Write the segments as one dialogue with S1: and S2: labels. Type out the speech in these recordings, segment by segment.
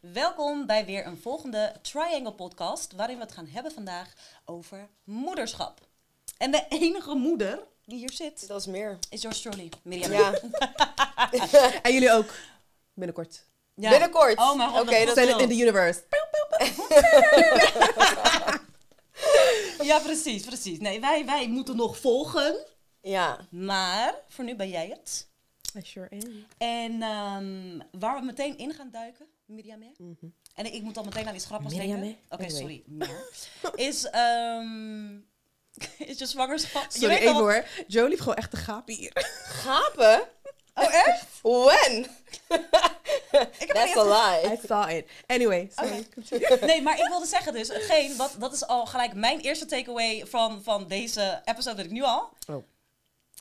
S1: Welkom bij weer een volgende Triangle podcast, waarin we het gaan hebben vandaag over moederschap. En de enige moeder die hier zit,
S2: Dat is meer.
S1: is yours truly, Miriam.
S2: Ja,
S3: En jullie ook. Binnenkort.
S1: Ja.
S2: binnenkort.
S1: Oh mijn god,
S2: Oké,
S1: dat klopt
S2: dat
S3: Zijn in
S1: wel.
S3: de universe.
S1: Ja, precies, precies. Nee, wij, wij moeten nog volgen,
S2: ja.
S1: maar voor nu ben jij het.
S3: I sure am.
S1: En ehm, waar we meteen in gaan duiken, Miriam. hè? En ik, ik moet al meteen aan iets grappigs
S3: Miriam,
S1: denken.
S3: hè?
S1: Oké,
S3: Anyway.
S1: sorry. Maar, is, ehm, is je zwangerschap... je
S3: Sorry,
S1: weet al
S3: even hoor. Joe liep gewoon echt te gapen hier.
S2: Gapen?
S1: wat- Oh, echt?
S2: When?
S1: Ik heb
S2: That's
S1: echt
S2: a lie.
S3: I saw it. Anyway, sorry.
S1: Oké. Nee, maar ik wilde zeggen dus, hetgeen, wat, dat is al gelijk mijn eerste takeaway van, van deze episode, dat ik nu al,
S3: Oh.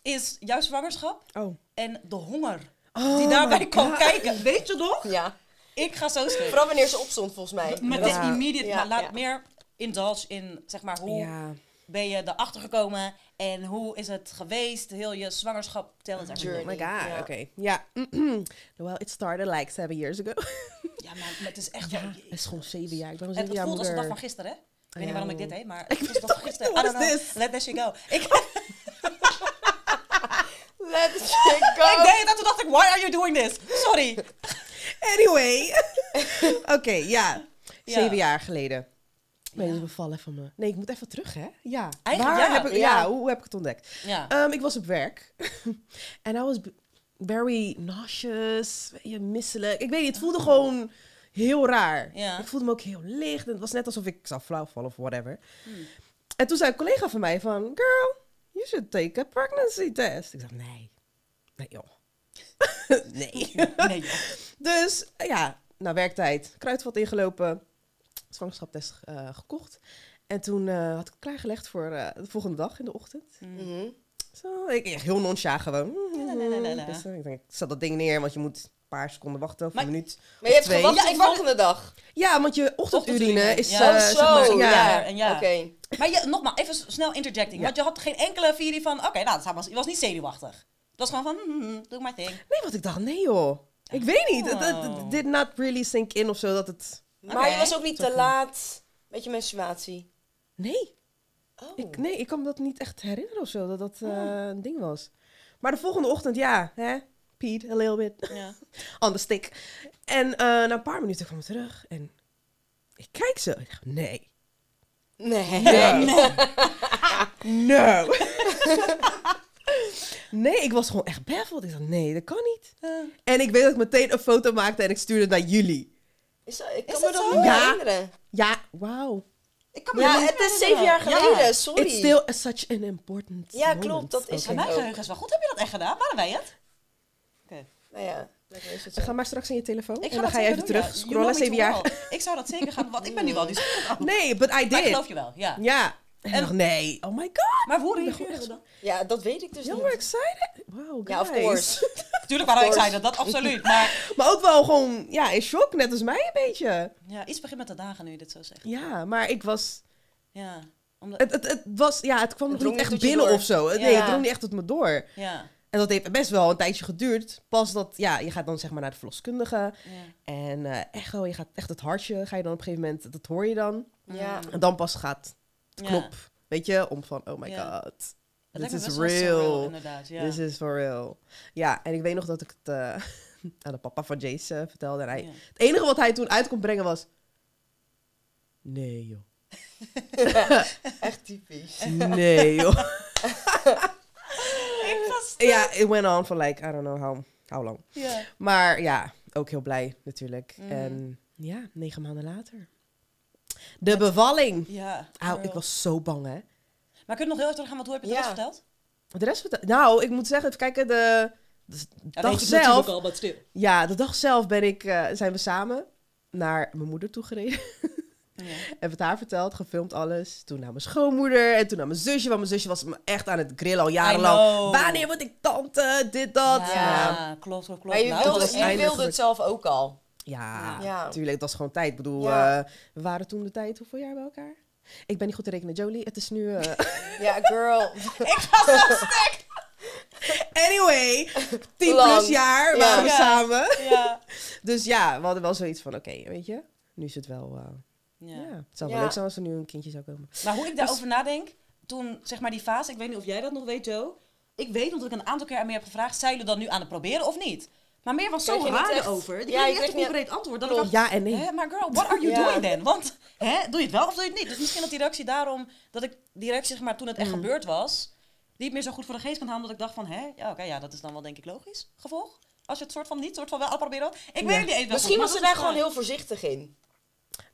S1: is jouw zwangerschap
S3: Oh.
S1: en de honger
S3: Oh
S1: die daarbij
S3: my
S1: kwam
S3: God.
S1: kijken. Weet je nog?
S2: Ja.
S1: Ik ga zo stuk.
S2: Vooral wanneer ze opstond, volgens mij.
S1: Met
S3: Ja.
S1: dit immediate,
S2: Ja,
S1: maar laat
S2: ja.
S1: meer indulge in, zeg maar, hoe
S3: Ja.
S1: ben je erachter gekomen en hoe is het geweest, heel je zwangerschap, tel het
S3: Oh
S1: eigenlijk.
S3: my god,
S2: Ja.
S3: oké. Ja. well, it started like seven years ago.
S1: niet. Ja, maar het is echt wel...
S3: ja, het is gewoon zeven jaar. Ik ben gewoon
S1: Het
S3: zeven jaar
S1: voelt als de dag
S3: moeder.
S1: van gisteren, hè? Ik weet niet
S3: Ja.
S1: waarom ik dit heet, maar het is de dag van gisteren. I
S3: What
S1: don't
S3: is
S1: know.
S3: this?
S1: Let that shit go. Ik,
S2: Let's go.
S1: Ik deed dat toen dacht ik, why are you doing this? Sorry.
S3: Anyway. oké, ja.
S1: Ja.
S3: Zeven jaar geleden. Ben je
S1: Ja.
S3: bevallen van me? Nee, ik moet even terug, hè? Ja.
S1: Eigenlijk
S3: Waar
S1: ja.
S3: Heb ik,
S2: Ja.
S3: ja, hoe heb ik het ontdekt?
S1: Ja.
S3: Ehm, ik was op werk. En I was b- very nauseous, weet je, misselijk. Ik weet niet, het voelde gewoon heel raar.
S1: Ja.
S3: Ik voelde me ook heel licht. En het was net alsof ik zou flauw vallen of whatever. En toen zei een collega van mij van... Girl, you should take a pregnancy test. Ik dacht, nee. Nee, joh. nee.
S1: Nee, joh.
S3: Dus eh, ja, na werktijd, kruidvat ingelopen, zwangerschaptest eh, gekocht. En toen eh, had ik het klaargelegd voor eh, de volgende dag in de ochtend.
S2: Mhm.
S3: Zo, ik echt heel nonchalant gewoon. Mm,
S1: La, la, la, la, la.
S3: Dus, eh, ik denk, ik zet dat ding neer, want je moet een paar seconden wachten, of
S1: Maar-
S3: een minuut.
S2: Maar je hebt
S3: Twee.
S2: gewacht
S1: Ja,
S2: tot de
S1: ik wou-
S2: volgende dag.
S3: Ja, want je ochtendurine
S1: Ochtendurine,
S3: is...
S1: ja.
S3: eh,
S1: Oh,
S3: zeg
S2: zo.
S3: maar-
S1: ja.
S2: ja.
S1: En ja.
S2: Oké.
S1: Maar je, nogmaals, even s- snel interjecting.
S3: Ja.
S1: Want je had geen enkele virie van, oké, nou, het was, het was niet zenuwachtig. Het was gewoon van, hmm, hmm, doe my thing.
S3: Nee, want ik dacht, nee joh. Ik weet niet, het- het-
S1: Oh.
S3: het did not really sink in of zo, dat het...
S2: Maar
S1: Oké.
S2: je was ook niet te
S3: Oké.
S2: laat met je menstruatie.
S3: Nee,
S2: Oh.
S3: ik, nee, ik kan me dat niet echt herinneren of zo, dat dat eh,
S1: Oh.
S3: een ding was. Maar de volgende ochtend, ja, hè? Pete, a little bit.
S1: Ja.
S3: on the stick. En eh, na een paar minuten kwam het terug en ik kijk zo. Ik dacht, nee.
S2: Nee.
S3: No. nee, ik was gewoon echt baffled. Ik dacht, nee, dat kan niet.
S1: Eh,
S3: En ik weet dat ik meteen een foto maakte en ik stuurde het naar jullie.
S2: Is dat, ik
S1: Is
S2: kan me
S1: dat
S2: dat
S1: zo?
S2: niet
S3: Ja.
S2: herinneren.
S3: Ja, wauw.
S1: Ik kan me
S2: Ja,
S1: niet
S2: het is
S1: herinneren.
S2: zeven jaar
S1: Ja.
S2: geleden. Sorry.
S3: It's still a- such an important
S2: Ja,
S3: moment.
S2: klopt, dat is
S3: Oké.
S1: En mijn geheugen is wel goed. Heb je dat echt gedaan? Waren wij het? Oké.
S2: Nou ja. lekker is het zo.
S3: Ga maar straks in je telefoon
S1: Ik
S3: en dan
S1: dat
S3: ga je
S1: zeker
S3: even
S1: doen, ja.
S3: terug
S1: You
S3: scrollen,
S1: know me
S3: zeven
S1: too
S3: jaar.
S1: well. Ik zou dat zeker gaan, want ik ben nu wel nieuwsgierig.
S3: Nee, but I
S1: Maar ik
S3: did.
S1: geloof je wel, ja.
S3: Ja. En
S1: En-
S3: ik dacht, nee, oh my god.
S1: Maar hoe
S3: Ik ben
S1: reageerde
S3: gewoon echt
S1: dan?
S2: Ja, dat weet ik dus
S3: Heel
S2: niet.
S3: excited. Wow, guys.
S2: Ja, of course.
S1: Tuurlijk waren we
S2: Of course.
S1: excited, dat absoluut. Maar
S3: Maar ook wel gewoon, ja, in shock, net als mij een beetje.
S1: ja, iets begint met de dagen nu je dit zo zegt.
S3: Ja, maar ik was...
S1: Ja. Omdat,
S3: Het, het, het, was, ja, het kwam
S2: Het
S3: nog
S2: drong
S3: niet
S2: niet
S3: echt
S2: tot je
S3: binnen
S2: door.
S3: of zo. Nee,
S1: Ja.
S3: het drong niet echt tot me door.
S1: ja.
S3: En dat heeft best wel een tijdje geduurd. Pas dat, ja, je gaat dan zeg maar naar de verloskundige.
S1: ja.
S3: En eh, echo, je gaat echt het hartje, ga je dan op een gegeven moment, dat hoor je dan.
S2: Ja.
S3: En dan pas gaat de
S1: Ja.
S3: knop, weet je, om van, oh my
S1: Ja.
S3: god,
S1: Het
S3: this
S1: lijkt me
S3: is
S1: best wel surreal,
S3: real.
S1: inderdaad. Ja.
S3: This is for real. Ja, en ik weet nog dat ik het eh, aan de papa van Jace eh, vertelde. En hij,
S1: Ja.
S3: Het enige wat hij toen uit kon brengen was... Nee, joh.
S2: Echt typisch.
S3: Nee, joh.
S1: Ik was-
S3: ja, it went on for like, I don't know how, how long.
S1: ja.
S3: Maar ja, ook heel blij natuurlijk.
S1: Mm.
S3: En ja, negen maanden later. De bevalling.
S1: Ja,
S3: Au, ik
S1: girl.
S3: was zo bang, hè.
S1: Maar kun je nog heel even teruggaan, want hoe heb je het
S2: Ja.
S1: rest verteld?
S3: De rest vertel- Nou, ik moet zeggen, even kijken, de, de dag zelf...
S1: al, maar stil.
S3: Ja, de dag zelf ben ik, eh, zijn we samen naar mijn moeder toe gereden.
S1: Ja.
S3: Heb het haar verteld, gefilmd alles. Toen naar mijn schoonmoeder en toen naar mijn zusje. Want mijn zusje was me echt aan het grillen al
S1: I
S3: jarenlang.
S1: know.
S3: Wanneer word ik tante? Dit, dat.
S1: Ja,
S3: Ja,
S1: klopt, klopt, klopt.
S2: Maar je
S1: Nou,
S2: wilde,
S3: was
S1: dat was echt-
S2: je
S3: eindelijk
S2: wilde het
S3: gelukt.
S2: zelf ook al.
S3: ja,
S2: Ja.
S3: tuurlijk. Dat is gewoon tijd. Ik bedoel,
S2: Oh. Ja.
S3: eh, we waren toen de tijd hoeveel jaar bij elkaar? Ik ben niet goed te rekenen, Jolie. Het is nu... eh,
S2: Ja, girl.
S3: anyway, 10
S2: Lang.
S3: plus jaar
S2: Ja.
S3: waren we
S1: Ja.
S3: samen.
S1: Ja.
S3: Dus ja, we hadden wel zoiets van, oké, weet je, nu is het wel... eh,
S1: Ja. Dus-
S3: ja. het zou wel
S2: Ja.
S3: leuk zijn als er nu een kindje zou komen.
S1: Maar hoe ik daarover nadenk, toen zeg maar die fase, ik weet niet of jij dat nog weet, Joe. Ik weet, omdat ik een aantal keer aan meer heb gevraagd, zijn jullie dat nu aan het proberen of niet? Maar meer was zo
S2: Kreeg je niet
S1: raar
S2: echt-
S1: over. Ik
S2: Ja,
S1: kreeg
S2: je
S1: niet echt
S2: kreeg
S1: een
S2: niet-
S1: concreet antwoord. Dat ik
S2: Klopt.
S1: dacht,
S3: Ja en nee.
S1: Hè, maar girl, what are you
S2: Ja.
S1: doing then? Want hè, doe je het wel of doe je het niet? Dus misschien dat die reactie daarom, dat ik die reactie zeg maar toen het echt gebeurd was, niet meer zo goed voor de geest kan halen. Dat ik dacht van, hè, ja oké, ja dat is dan wel denk ik logisch. Gevolg? Als je het soort van niet, soort van wel al proberen. Ik weet het niet eens wel
S2: Misschien
S1: goed, maar
S2: was ze
S1: dat
S2: daar
S1: is
S2: gewoon
S1: waar.
S2: heel voorzichtig in.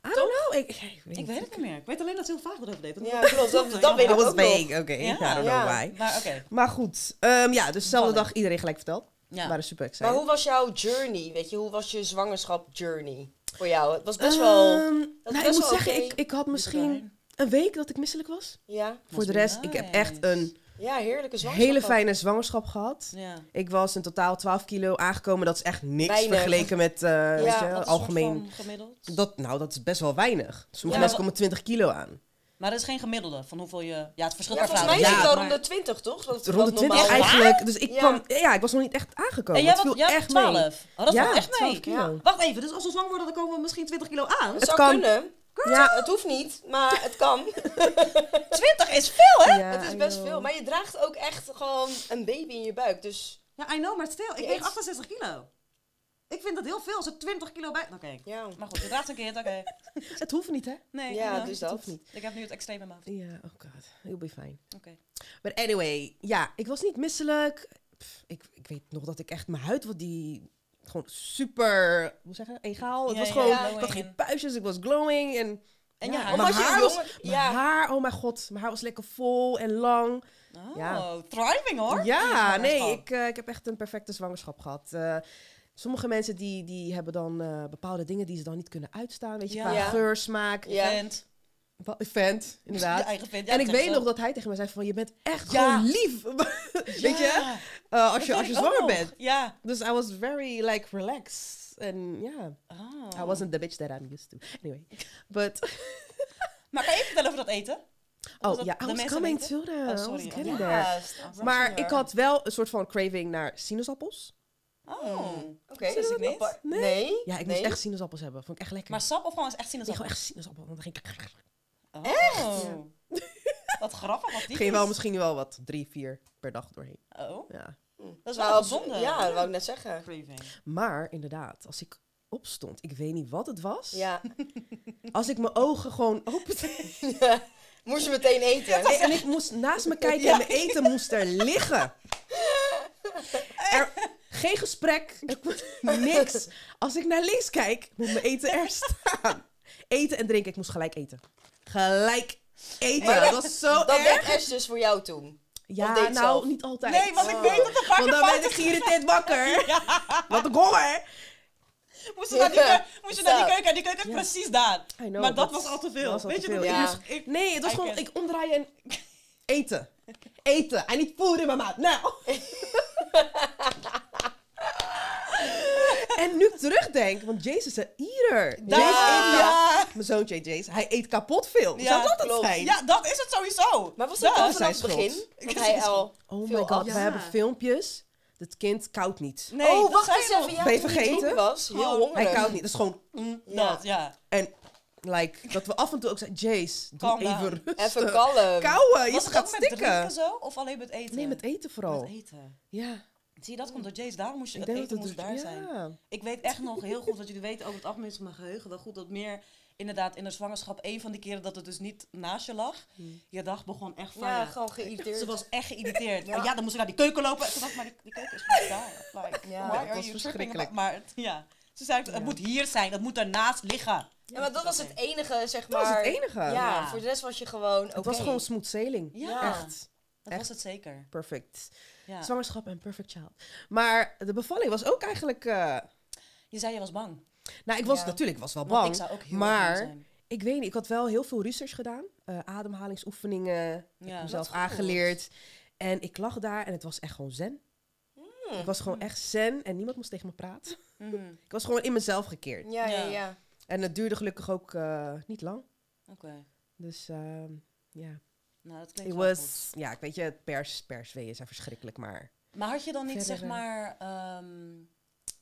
S3: I don't know. Ik, ik
S1: Ik
S3: weet niet.
S1: weet het niet meer. Ik weet alleen dat ze heel vaag erover deed. Dat-
S2: Ja, klopt. Dat, dat weet
S3: I
S2: ik
S3: was
S2: ook nog.
S3: vague, oké.
S1: Ja.
S3: I don't know
S2: Ja.
S3: why.
S1: Maar oké,
S3: Maar goed, ehm, ja, dus dezelfde
S1: Vallen.
S3: dag iedereen gelijk verteld.
S1: Ja.
S3: We waren super excited.
S2: Maar hoe was jouw journey? Weet je, hoe was je zwangerschap journey voor jou? Het was best wel...
S3: Ehm,
S2: was
S3: nou,
S2: best
S3: ik moet
S2: wel
S3: zeggen,
S2: oké.
S3: ik, ik had misschien
S1: doorheen.
S3: een week dat ik misselijk was.
S2: Ja,
S3: Voor de
S1: weer
S3: rest, ik heb echt
S1: nice.
S3: een
S2: ja heerlijke zwangerschap.
S3: hele fijne zwangerschap gehad.
S1: ja.
S3: Ik was in totaal 12 kilo aangekomen. Dat is echt niks
S2: Weinig.
S3: vergeleken met eh, weet je,
S2: dat is
S1: Dat is
S3: algemeen.
S1: een soort van gemiddeld.
S3: Dat, nou, dat is best wel weinig. Sommige
S1: Ja,
S3: mensen
S1: wa-
S3: komen 20 kilo aan.
S1: Maar dat is geen gemiddelde van hoeveel je... Ja, het verschil
S2: Ja,
S1: per
S2: volgens
S1: vrouw.
S2: mij
S3: Ja,
S2: is het wel
S1: maar-
S2: rond de 20, toch? Dat,
S3: Rond de
S2: dat
S3: 20
S2: normaal-
S3: eigenlijk. Dus ik
S2: Ja.
S3: kwam, ja, ik was nog niet echt aangekomen.
S1: En jij
S3: het viel
S1: was, jij was
S3: echt
S1: 12.
S3: mee.
S1: Oh, dat
S3: Ja,
S1: valt echt
S3: 12
S1: mee.
S3: kilo.
S1: Ja. Wacht even, dus als we zwanger worden, dan komen we misschien 20 kilo aan.
S2: Het,
S3: Het
S2: zou
S3: kan.
S2: kunnen.
S3: Ja.
S2: Het hoeft niet, maar het kan.
S1: 20 is veel, hè?
S3: Ja,
S2: het is
S3: I
S2: best
S3: know.
S2: veel. Maar je draagt ook echt gewoon een baby in je buik. Dus
S1: Ja, I know, maar stil. Ik
S2: Ja,
S1: weeg
S2: ik-
S1: 68 kilo. Ik vind dat heel veel. Als er 20 kilo bij... Oké.
S2: ja.
S1: Maar goed, je draagt een kind, oké.
S3: Het hoeft niet, hè?
S1: Nee,
S2: Ja,
S1: nou,
S2: dus
S3: Het
S2: dat.
S3: hoeft niet.
S1: ik heb nu het extreem in mijn hoofd.
S3: Ja, oh god. You'll be fine.
S1: Oké.
S3: Maar anyway, ja, ik was niet misselijk. Pff, ik, ik weet nog dat ik echt mijn huid wat die gewoon super, hoe zeg je, egaal. Oh, Het
S1: Ja,
S3: was
S1: ja,
S3: gewoon,
S2: ja.
S3: ik had geen puistjes, ik was glowing en
S1: En
S3: Ja,
S1: je haar.
S3: maar-
S2: Omdat je een
S3: haar was-
S2: jongen...
S3: mijn
S2: Ja,
S3: haar, oh mijn god, mijn haar was lekker vol en lang.
S1: Oh,
S3: Ja.
S1: thriving hoor.
S3: Ja,
S1: Die
S3: nee,
S1: zwangerschap.
S3: ik, eh, ik heb echt een perfecte zwangerschap gehad. Eh, sommige mensen die, die hebben dan eh, bepaalde dingen die ze dan niet kunnen uitstaan, weet je,
S1: Ja.
S3: qua
S2: Ja.
S3: geur, smaak,
S2: Ja.
S1: Vent.
S3: wa- vent,
S1: Je
S3: inderdaad.
S1: eigen vent. Ja,
S3: en ik
S1: dat zeg
S3: weet
S1: ze.
S3: nog dat hij tegen mij zei van, je bent echt
S1: Ja.
S3: gewoon lief, weet je,
S1: Ja,
S3: eh,
S1: dat
S3: als je, als je
S1: weet ik ook
S3: zwanger
S1: nog.
S3: bent.
S1: Ja.
S3: Dus I was very like relaxed. En ja,
S1: Oh.
S3: I wasn't the bitch that I'm used to. Anyway, but
S1: Maar kan je even vertellen over dat eten?
S3: oh
S1: dat
S3: ja,
S1: de
S3: I was
S1: mensen
S3: coming
S1: weten?
S3: to the,
S1: Oh,
S3: I was
S1: sorry.
S3: getting
S1: Ja.
S3: there.
S2: st-
S3: Maar ik had wel een soort van craving naar sinaasappels.
S1: Oh. Zie je
S2: Oké, is
S1: dat
S2: het
S1: niet?
S2: apart?
S3: Nee.
S2: Nee.
S3: Ja, ik
S2: nee.
S3: moest echt sinaasappels hebben. Vond ik echt lekker.
S1: Maar sap of gewoon echt
S3: nee,
S1: sinaasappel?
S3: gewoon echt sinaasappel. Want dan ging ik...
S1: Echt? Wat grappig wat die
S3: ging
S1: is.
S3: wel misschien wel wat drie, vier per dag doorheen.
S1: Oh,
S3: Ja.
S1: dat is wel
S2: Nou,
S1: gezonde.
S2: Ja, dat wou ik net zeggen.
S1: Craving.
S3: Maar inderdaad, als ik opstond, ik weet niet wat het was.
S2: Ja.
S3: Als ik mijn ogen gewoon opende
S2: Moest je meteen eten.
S3: en ik moest naast me kijken en mijn eten moest er liggen. Er, geen gesprek, er kon- niks. Als ik naar links kijk, moet mijn eten er staan. Eten en drinken, ik moest gelijk eten. Gelijk eten,
S2: Maar
S3: dat was zo
S2: Dat
S3: erg.
S2: werd Ash dus voor jou toen.
S3: Ja,
S2: deed het
S3: nou,
S2: zelf?
S3: niet altijd.
S1: Nee, want ik
S2: Oh.
S1: weet dat de
S3: Want
S1: vakken
S3: dan werd ik geïrriteerd wakker. Wat een honger.
S1: Moest je naar die,
S2: Ja.
S1: keu- moest je naar die
S2: Ja.
S1: keuken en die keuken is
S3: Ja.
S1: precies daar.
S3: I know,
S1: maar dat
S3: dat
S1: was al te veel.
S3: was al
S1: Weet
S3: te
S1: je nog?
S3: veel,
S1: Ik
S2: ja.
S1: moest- ik-
S3: Nee, het was
S1: I
S3: gewoon,
S1: can-
S3: ik omdraai en eten. Eten. I need food in my mouth. Nou. en nu ik terugdenk, want Jace is een eater.
S1: Daar-
S3: Jace eet
S1: ja.
S3: ka- Mijn zoontje Jace, hij eet kapot veel.
S1: Ja,
S3: Zou dat het
S2: klopt.
S3: zijn?
S1: Ja, dat is het sowieso.
S2: Maar was dat
S1: Ja.
S2: al
S3: zij
S2: vanaf
S3: is
S2: het begin?
S3: trots.
S2: Dat hij al
S3: Oh my
S2: veel
S3: god,
S2: af-
S3: we
S1: Ja.
S3: hebben filmpjes. Dat kind koud niet.
S1: Nee,
S2: oh,
S1: dat
S2: wacht
S1: zei
S2: eens
S1: je nog.
S2: even. Ja,
S3: Ben je
S2: toen hij
S3: vergeten?
S2: dronken was, heel
S1: Oh.
S2: hongerig.
S3: Hij koud niet. Dat is gewoon...
S2: Ja.
S1: Dat, ja.
S3: En like, dat we af en toe ook zeiden, Jace, doe
S1: Calm down.
S3: even rustig.
S2: Even kalm.
S3: Kauwen, je
S1: Was het ook
S3: gaat
S1: met drinken
S3: stikken.
S1: zo? Of alleen met eten?
S3: Nee, met eten vooral.
S1: Met eten.
S3: Ja.
S1: Zie je, dat komt door Jace. Daarom moest je
S3: Ik
S1: het
S3: denk
S1: eten
S3: dat
S1: moest
S3: het
S1: daar
S3: dus-
S1: zijn.
S3: ja.
S1: Ik weet echt nog heel goed, wat jullie weten over het algemeen is mijn geheugen wel goed, dat meer inderdaad in de zwangerschap, een van die keren dat het dus niet naast je lag,
S3: Mm.
S1: je dag begon echt van
S2: Ja,
S1: je.
S2: gewoon geïrriteerd.
S1: Ze was echt geïrriteerd.
S2: Ja.
S1: Ja. ja, dan moest ik naar die keuken lopen. Toen dacht ik, maar die, die keuken is niet daar. Like,
S2: Ja,
S1: why
S3: dat
S1: are you
S3: was
S1: tripping
S3: verschrikkelijk.
S1: about- Maar het- ja, ze zei, het moet hier zijn, dat moet daarnaast liggen.
S2: Ja, maar dat was het enige, zeg
S3: Dat
S2: maar.
S3: was het enige.
S2: Ja,
S1: Ja.
S2: voor de rest was je gewoon oké.
S3: Het was gewoon smooth sailing.
S1: Ja.
S3: Echt.
S1: Dat
S3: Echt.
S1: was het zeker.
S3: Perfect.
S1: Ja.
S3: Zwangerschap en perfect child. Maar de bevalling was ook eigenlijk... eh,
S1: Je zei je was bang.
S3: nou, ik was
S2: Ja.
S3: natuurlijk was wel
S1: Want
S3: bang.
S1: ik zou ook heel erg
S3: maar
S1: bang zijn.
S3: ik weet niet, ik had wel heel veel research gedaan. eh, ademhalingsoefeningen. Ik
S1: Ja.
S3: heb mezelf
S2: Wat goed.
S3: aangeleerd. En ik lag daar en het was echt gewoon zen.
S2: Hmm.
S3: Ik was gewoon echt zen en niemand moest tegen me praten.
S1: Mhm.
S3: Ik was gewoon in mezelf gekeerd.
S2: Ja, ja,
S1: Ja.
S2: ja.
S3: En het duurde gelukkig ook eh, niet lang.
S1: Oké.
S3: Dus ehm, ja,
S1: Nou, dat
S3: it
S1: klinkt wel goed.
S3: was... Ja, ik weet je, het pers, persweeën zijn verschrikkelijk, maar...
S1: Maar had je dan niet,
S3: Verder,
S1: zeg
S3: eh.
S1: maar, ehm,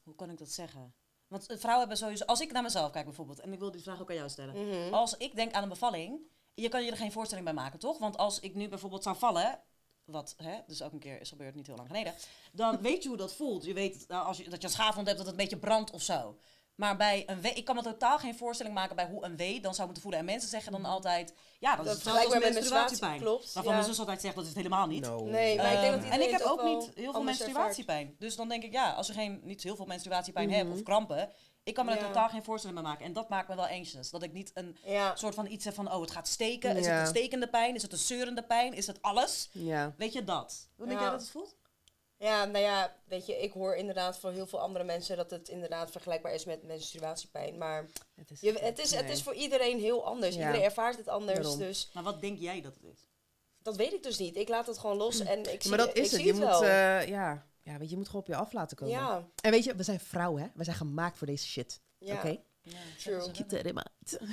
S1: hoe kan ik dat zeggen? Want eh, vrouwen hebben sowieso... Als ik naar mezelf kijk bijvoorbeeld, en ik wil die vraag ook aan jou stellen.
S2: Mhm.
S1: Als ik denk aan een bevalling, je kan je er geen voorstelling bij maken, toch? Want als ik nu bijvoorbeeld zou vallen, wat hè, dus ook een keer is gebeurd, niet heel lang geleden, dan weet je hoe dat voelt. Je weet nou, als je, dat je een schaafwond hebt, dat het een beetje brandt of zo. Maar bij een wee, ik kan me totaal geen voorstelling maken bij hoe een wee dan zou moeten voelen. En mensen zeggen dan altijd, ja, dat, is hetzelfde
S2: Dat
S1: als
S2: vergelijkbaar met
S1: menstruatiepijn.
S2: menstruatie, klopt,
S1: Waarvan
S2: ja.
S1: mijn zus altijd zegt, dat is het helemaal niet.
S3: No.
S2: Nee, maar ik denk
S1: Ehm,
S2: dat iedereen
S1: en ik heb
S2: het
S1: ook
S2: wel
S1: niet heel veel
S2: anders
S1: menstruatiepijn. Dus dan denk ik, ja, als je geen, niet heel veel menstruatiepijn hebt of krampen, ik kan me er
S2: Mhm. Ja.
S1: totaal geen voorstelling bij maken. En dat maakt me wel anxious. Dat ik niet een
S2: ervaart. Ja.
S1: een soort van iets hè, van, oh, het gaat steken. Is
S3: Ja.
S1: het een stekende pijn? Is het een zeurende pijn? Is het alles?
S3: Ja.
S1: Weet je dat? Hoe denk
S2: Ja.
S1: jij dat het voelt?
S2: ja, nou ja, weet je, ik hoor inderdaad van heel veel andere mensen dat het inderdaad vergelijkbaar is met menstruatiepijn. Maar
S3: Het
S2: je, het, is, het
S1: Nee.
S2: is voor iedereen heel anders.
S3: Ja.
S2: Iedereen ervaart het anders.
S3: Daarom.
S2: Dus
S1: Maar wat denk jij dat het is?
S2: dat weet ik dus niet. Ik laat het gewoon los en ik zie
S3: maar dat
S2: ik
S3: is
S2: zie
S3: het. Je moet,
S2: wel.
S3: eh, ja. Ja, weet je, je moet gewoon op je af laten komen.
S2: ja,
S3: En weet je, we zijn vrouwen, hè? We zijn gemaakt voor deze shit.
S2: ja,
S3: Oké?
S2: true.
S3: Keep that in mind.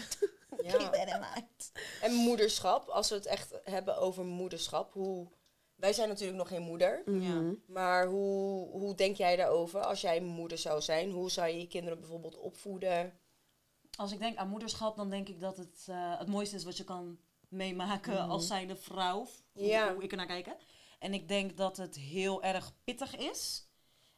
S2: Ja.
S1: uit.
S2: En moederschap, als we het echt hebben over moederschap, hoe... Wij zijn natuurlijk nog geen moeder,
S3: Mhm.
S2: maar hoe, hoe denk jij daarover als jij moeder zou zijn? Hoe zou je je kinderen bijvoorbeeld opvoeden?
S1: Als ik denk aan moederschap, dan denk ik dat het eh, het mooiste is wat je kan meemaken als zijnde vrouw. Hoe,
S2: Mhm. Ja.
S1: hoe ik ernaar kijk. hè. En ik denk dat het heel erg pittig is.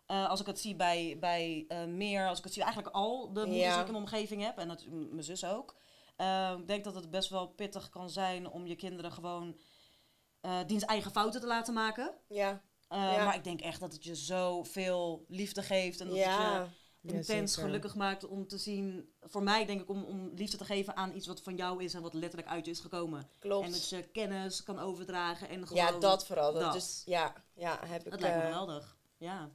S1: Eh, als ik het zie bij, bij eh, meer, als ik het zie eigenlijk al de moeders
S2: Ja.
S1: die ik in mijn omgeving heb. En dat, m- mijn zus ook. Eh, ik denk dat het best wel pittig kan zijn om je kinderen gewoon eh diens eigen fouten te laten maken.
S2: Ja,
S1: Eh,
S2: Ja.
S1: Maar ik denk echt dat het je zoveel liefde geeft. En dat het je
S2: ja,
S3: Ja,
S1: intens
S3: zeker.
S1: gelukkig maakt om te zien. Voor mij denk ik om, om liefde te geven aan iets wat van jou is en wat letterlijk uit je is gekomen. En dat
S2: klopt.
S1: je kennis kan overdragen en gewoon.
S2: Ja, dat vooral. Dat
S1: dat.
S2: Dus, ja, ja, heb ik...
S1: Dat lijkt me
S2: eh,
S1: geweldig. Ja.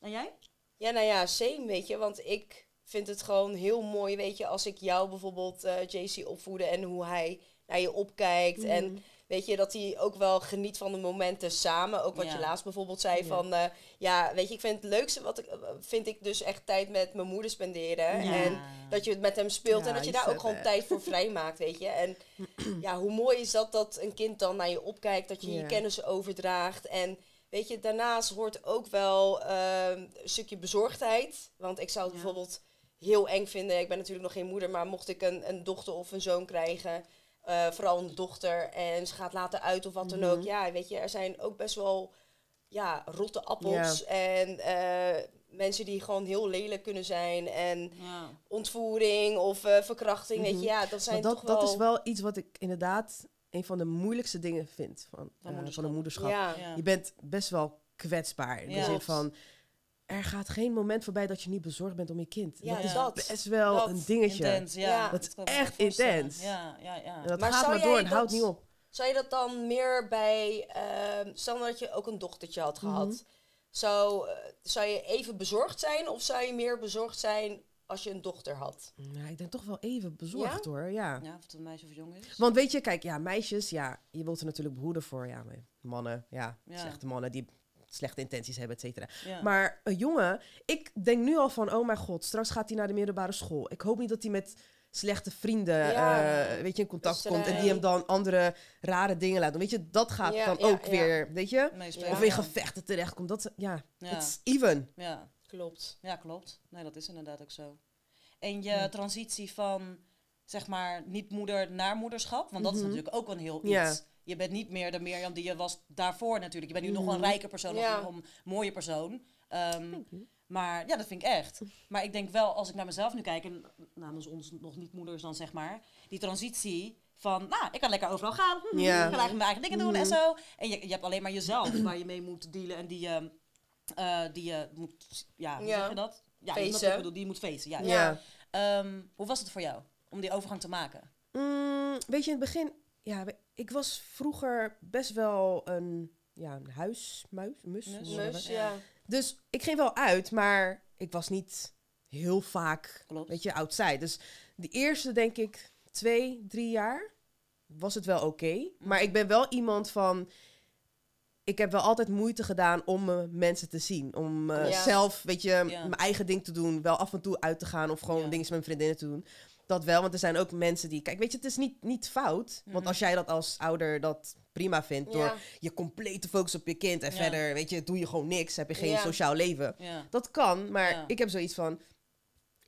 S1: En jij?
S2: Ja, nou ja, same, weet je. Want ik vind het gewoon heel mooi, weet je, als ik jou bijvoorbeeld, eh, JC, opvoedde en hoe hij naar je opkijkt.
S3: Mhm.
S2: En weet je, dat hij ook wel geniet van de momenten samen. Ook wat
S1: Ja.
S2: je laatst bijvoorbeeld zei
S3: Ja.
S2: van, eh, ja, weet je, ik vind het leukste, wat ik, eh, vind ik dus echt tijd met mijn moeder spenderen.
S1: Ja.
S2: En dat je het met hem speelt
S3: Ja,
S2: en dat je
S3: je
S2: daar ook
S3: zet,
S2: gewoon
S3: eh.
S2: tijd voor vrijmaakt, weet je. En ja, hoe mooi is dat dat een kind dan naar je opkijkt, dat je
S3: Ja.
S2: je kennis overdraagt. En weet je, daarnaast hoort ook wel ehm, een stukje bezorgdheid. Want ik zou het
S1: Ja.
S2: bijvoorbeeld heel eng vinden, ik ben natuurlijk nog geen moeder, maar mocht ik een, een dochter of een zoon krijgen, eh, vooral een dochter, en ze gaat later uit of wat dan ook.
S3: Mhm.
S2: Ja, weet je, er zijn ook best wel ja, rotte appels en eh, mensen die gewoon heel lelijk kunnen zijn. En
S1: Ja.
S2: ontvoering of eh, verkrachting, weet
S3: Mhm.
S2: je, ja, dat zijn
S3: Maar dat,
S2: toch wel...
S3: dat is wel iets wat ik inderdaad een van de moeilijkste dingen vind van, eh, van
S1: moederschap.
S3: een moederschap.
S2: Ja,
S1: Ja.
S3: Je bent best wel kwetsbaar. In
S1: Ja.
S3: de zin
S2: Klopt.
S3: van, er gaat geen moment voorbij dat je niet bezorgd bent om je kind.
S2: Ja,
S3: dat is
S1: dat.
S3: best wel
S2: Dat.
S3: een dingetje.
S1: Intens, ja.
S2: Ja.
S3: Dat is
S1: kan ik me
S3: echt
S1: voorstellen.
S3: intens.
S1: Ja, ja, ja.
S3: En dat
S2: Maar
S3: gaat
S2: zou
S3: maar door
S2: jij
S3: en houdt
S2: dat-
S3: niet op.
S2: Zou je dat dan meer bij, ehm stel dat je ook een dochtertje had gehad, zou, eh, zou je even bezorgd zijn of zou je meer bezorgd zijn als je een dochter had?
S3: Nou, ik denk toch wel even bezorgd hoor, ja.
S1: Ja, of het een meisje of jong is.
S3: Want weet je, kijk, ja, meisjes, ja, je wilt er natuurlijk behoeden voor. Ja, maar mannen, ja,
S1: Ja.
S3: slechte mannen die slechte intenties hebben, et cetera.
S1: Ja.
S3: Maar een jongen, ik denk nu al van, oh mijn god, straks gaat hij naar de middelbare school. Ik hoop niet dat hij met slechte vrienden,
S2: Ja.
S3: eh, weet je, in contact
S2: Wisselij.
S3: komt en die hem dan andere rare dingen laat doen. Weet je, dat gaat
S2: Ja,
S3: dan
S2: ja,
S3: ook
S2: ja.
S3: weer, weet je,
S1: Meespeler.
S3: of in gevechten terechtkomt. Dat, ja,
S1: Ja.
S3: it's even.
S1: ja.
S2: Klopt.
S1: Ja, klopt. Nee, dat is inderdaad ook zo. En je transitie van, zeg maar, niet-moeder naar moederschap. Want dat is
S3: Mhm.
S1: natuurlijk ook een heel iets.
S3: Ja.
S1: Je bent niet meer de Mirjam die je was daarvoor natuurlijk. Je bent nu nog
S3: Mhm.
S1: een rijke persoon,
S2: Ja.
S1: nog een mooie persoon. Ehm, maar ja, dat vind ik echt. Maar ik denk wel, als ik naar mezelf nu kijk, en namens ons nog niet-moeders dan zeg maar, die transitie van, nou, ik kan lekker overal gaan. Hm,
S3: Ja. Mhm.
S1: Ik kan eigenlijk mijn eigen dingen doen en zo. En je, je hebt alleen maar jezelf waar je mee moet dealen en die je, eh, die je moet, ja, hoe
S2: Ja.
S1: zeg je dat? Ja, je
S2: Facen.
S1: snapt wat ik bedoel, die je moet feesten. Ja.
S3: Ja.
S2: Ja.
S1: Ehm, hoe was het voor jou om die overgang te maken?
S3: Mm, weet je, in het begin, ja, we- ik was vroeger best wel een, ja, een huismuis, mus,
S1: Mus.
S3: whatever.
S2: Dus
S1: Ja.
S2: ja.
S3: Dus ik ging wel uit, maar ik was niet heel vaak,
S1: Klopt.
S3: weet je, outside. Dus de eerste, denk ik, twee, drie jaar was het wel oké.
S2: Mhm.
S3: Maar ik ben wel iemand van... Ik heb wel altijd moeite gedaan om eh, mensen te zien. Om eh,
S2: Ja.
S3: zelf, weet je, mijn eigen ding te doen. Wel af en toe uit te gaan of gewoon
S1: Ja.
S3: dingen met mijn vriendinnen te doen. Dat wel, want er zijn ook mensen die... Kijk, weet je, het is niet, niet fout. Want als jij dat als ouder dat prima vindt... door
S2: Mhm. Ja.
S3: je compleet te focussen op je kind. En
S1: Ja.
S3: verder, weet je, doe je gewoon niks. Heb je geen
S2: Ja.
S3: sociaal leven.
S1: Ja.
S3: Dat kan, maar
S1: Ja.
S3: ik heb zoiets van...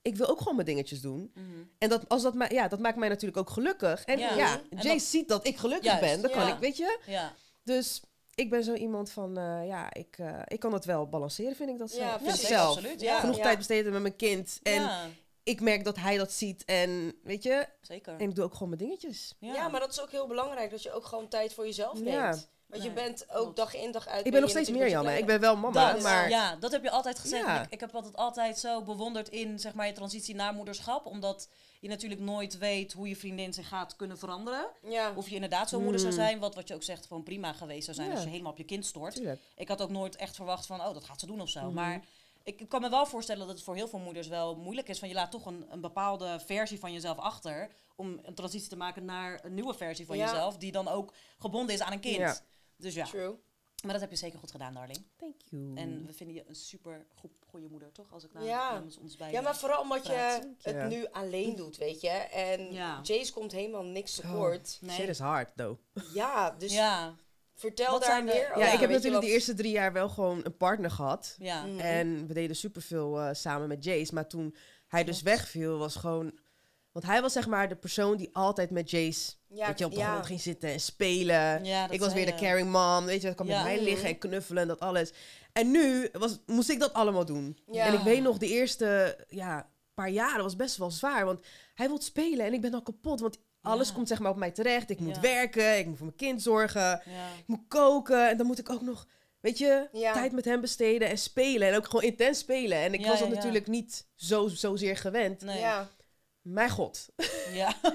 S3: ik wil ook gewoon mijn dingetjes doen.
S1: Mhm.
S3: En dat, als dat, ma- ja, dat maakt mij natuurlijk ook gelukkig. En
S1: Ja.
S3: ja,
S1: En
S3: Jay
S1: dat-
S3: ziet dat ik gelukkig
S1: Juist,
S3: ben. Dan
S2: ja.
S3: kan ik, weet je.
S1: Ja.
S3: Dus ik ben zo iemand van, eh, ja, ik, eh, ik kan dat wel balanceren, vind ik dat
S2: Ja,
S3: zelf.
S2: vind
S1: ja,
S2: ik
S1: zeker,
S3: zelf.
S1: absoluut.
S2: Ja.
S1: Ja,
S3: Genoeg
S2: Ja.
S3: tijd besteden met mijn kind. En
S1: Ja,
S3: ik merk dat hij dat ziet. En weet je,
S1: zeker.
S3: en ik doe ook gewoon mijn dingetjes.
S2: Ja. maar dat is ook heel belangrijk dat je ook gewoon tijd voor jezelf neemt.
S3: Ja.
S2: Want je
S1: Nee,
S2: bent ook
S1: klopt.
S2: dag in dag uit.
S3: Ik
S2: ben
S3: ben nog
S2: je
S3: steeds
S2: natuurlijk
S3: Mirjam,
S2: met
S3: hè.
S2: je
S3: Ik ben wel mama,
S1: dat,
S3: maar...
S1: ja, dat heb je altijd gezegd.
S3: Ja.
S1: En Ik, ik heb dat altijd zo bewonderd in zeg maar, je transitie naar moederschap. Omdat je natuurlijk nooit weet hoe je vriendin zich gaat kunnen veranderen.
S2: kleine. Ja.
S1: Of je inderdaad zo'n moeder zou
S3: Mm.
S1: zijn. Wat, wat je ook zegt, van prima geweest zou zijn
S3: Ja.
S1: als je helemaal op je kind stort.
S3: Tuurlijk.
S1: Ik had ook nooit echt verwacht van, oh, dat gaat ze doen of zo.
S3: Mhm.
S1: Maar ik kan me wel voorstellen dat het voor heel veel moeders wel moeilijk is. Van je laat toch een, een bepaalde versie van jezelf achter. Om een transitie te maken naar een nieuwe versie van
S2: Ja.
S1: jezelf. Die dan ook gebonden is aan een kind.
S3: Ja.
S1: Dus ja,
S2: True.
S1: maar dat heb je zeker goed gedaan, darling.
S3: Thank you.
S1: En we vinden je een super goede moeder, toch? Als ik nou
S2: Ja.
S1: namens ons bij.
S2: Ja, maar vooral omdat je
S3: Dank je.
S2: het nu alleen doet, weet je. En
S1: Ja.
S2: Jace komt helemaal niks tekort.
S1: Nee.
S3: Shit is hard, though.
S2: Ja, dus
S1: ja,
S2: vertel
S1: Wat
S2: daar
S1: zijn de-
S2: meer
S1: Ja,
S2: over.
S3: ja, ik
S2: weet
S3: heb
S2: je,
S3: natuurlijk
S2: want-
S3: de eerste drie jaar wel gewoon een partner gehad.
S1: ja.
S2: Mm.
S3: En we deden superveel eh samen met Jace. Maar toen hij dus
S1: Klopt.
S3: wegviel, was gewoon... Want hij was zeg maar de persoon die altijd met Jace
S2: Ja,
S3: weet je, op de
S2: ja.
S3: grond ging zitten en spelen.
S1: Ja, dat eh,
S3: ik was
S1: zei
S3: weer de
S1: je.
S3: caring mom. Weet je, ik kwam
S1: Ja.
S3: met mij liggen en knuffelen en dat alles. En nu was, moest ik dat allemaal doen.
S2: Ja.
S3: En ik weet nog, de eerste ja, paar jaren was best wel zwaar. Want hij wil spelen en ik ben al kapot. Want alles
S1: Ja.
S3: komt zeg maar op mij terecht. Ik moet
S1: Ja.
S3: werken, ik moet voor mijn kind zorgen
S1: Ja.
S3: ik moet koken en dan moet ik ook nog, weet je,
S2: Ja.
S3: tijd met hem besteden en spelen en ook gewoon intens spelen. En ik
S1: Ja,
S3: was dat
S1: ja, ja.
S3: natuurlijk niet zo, zozeer gewend.
S1: Nee. Ja.
S2: Ja.
S3: Mijn god.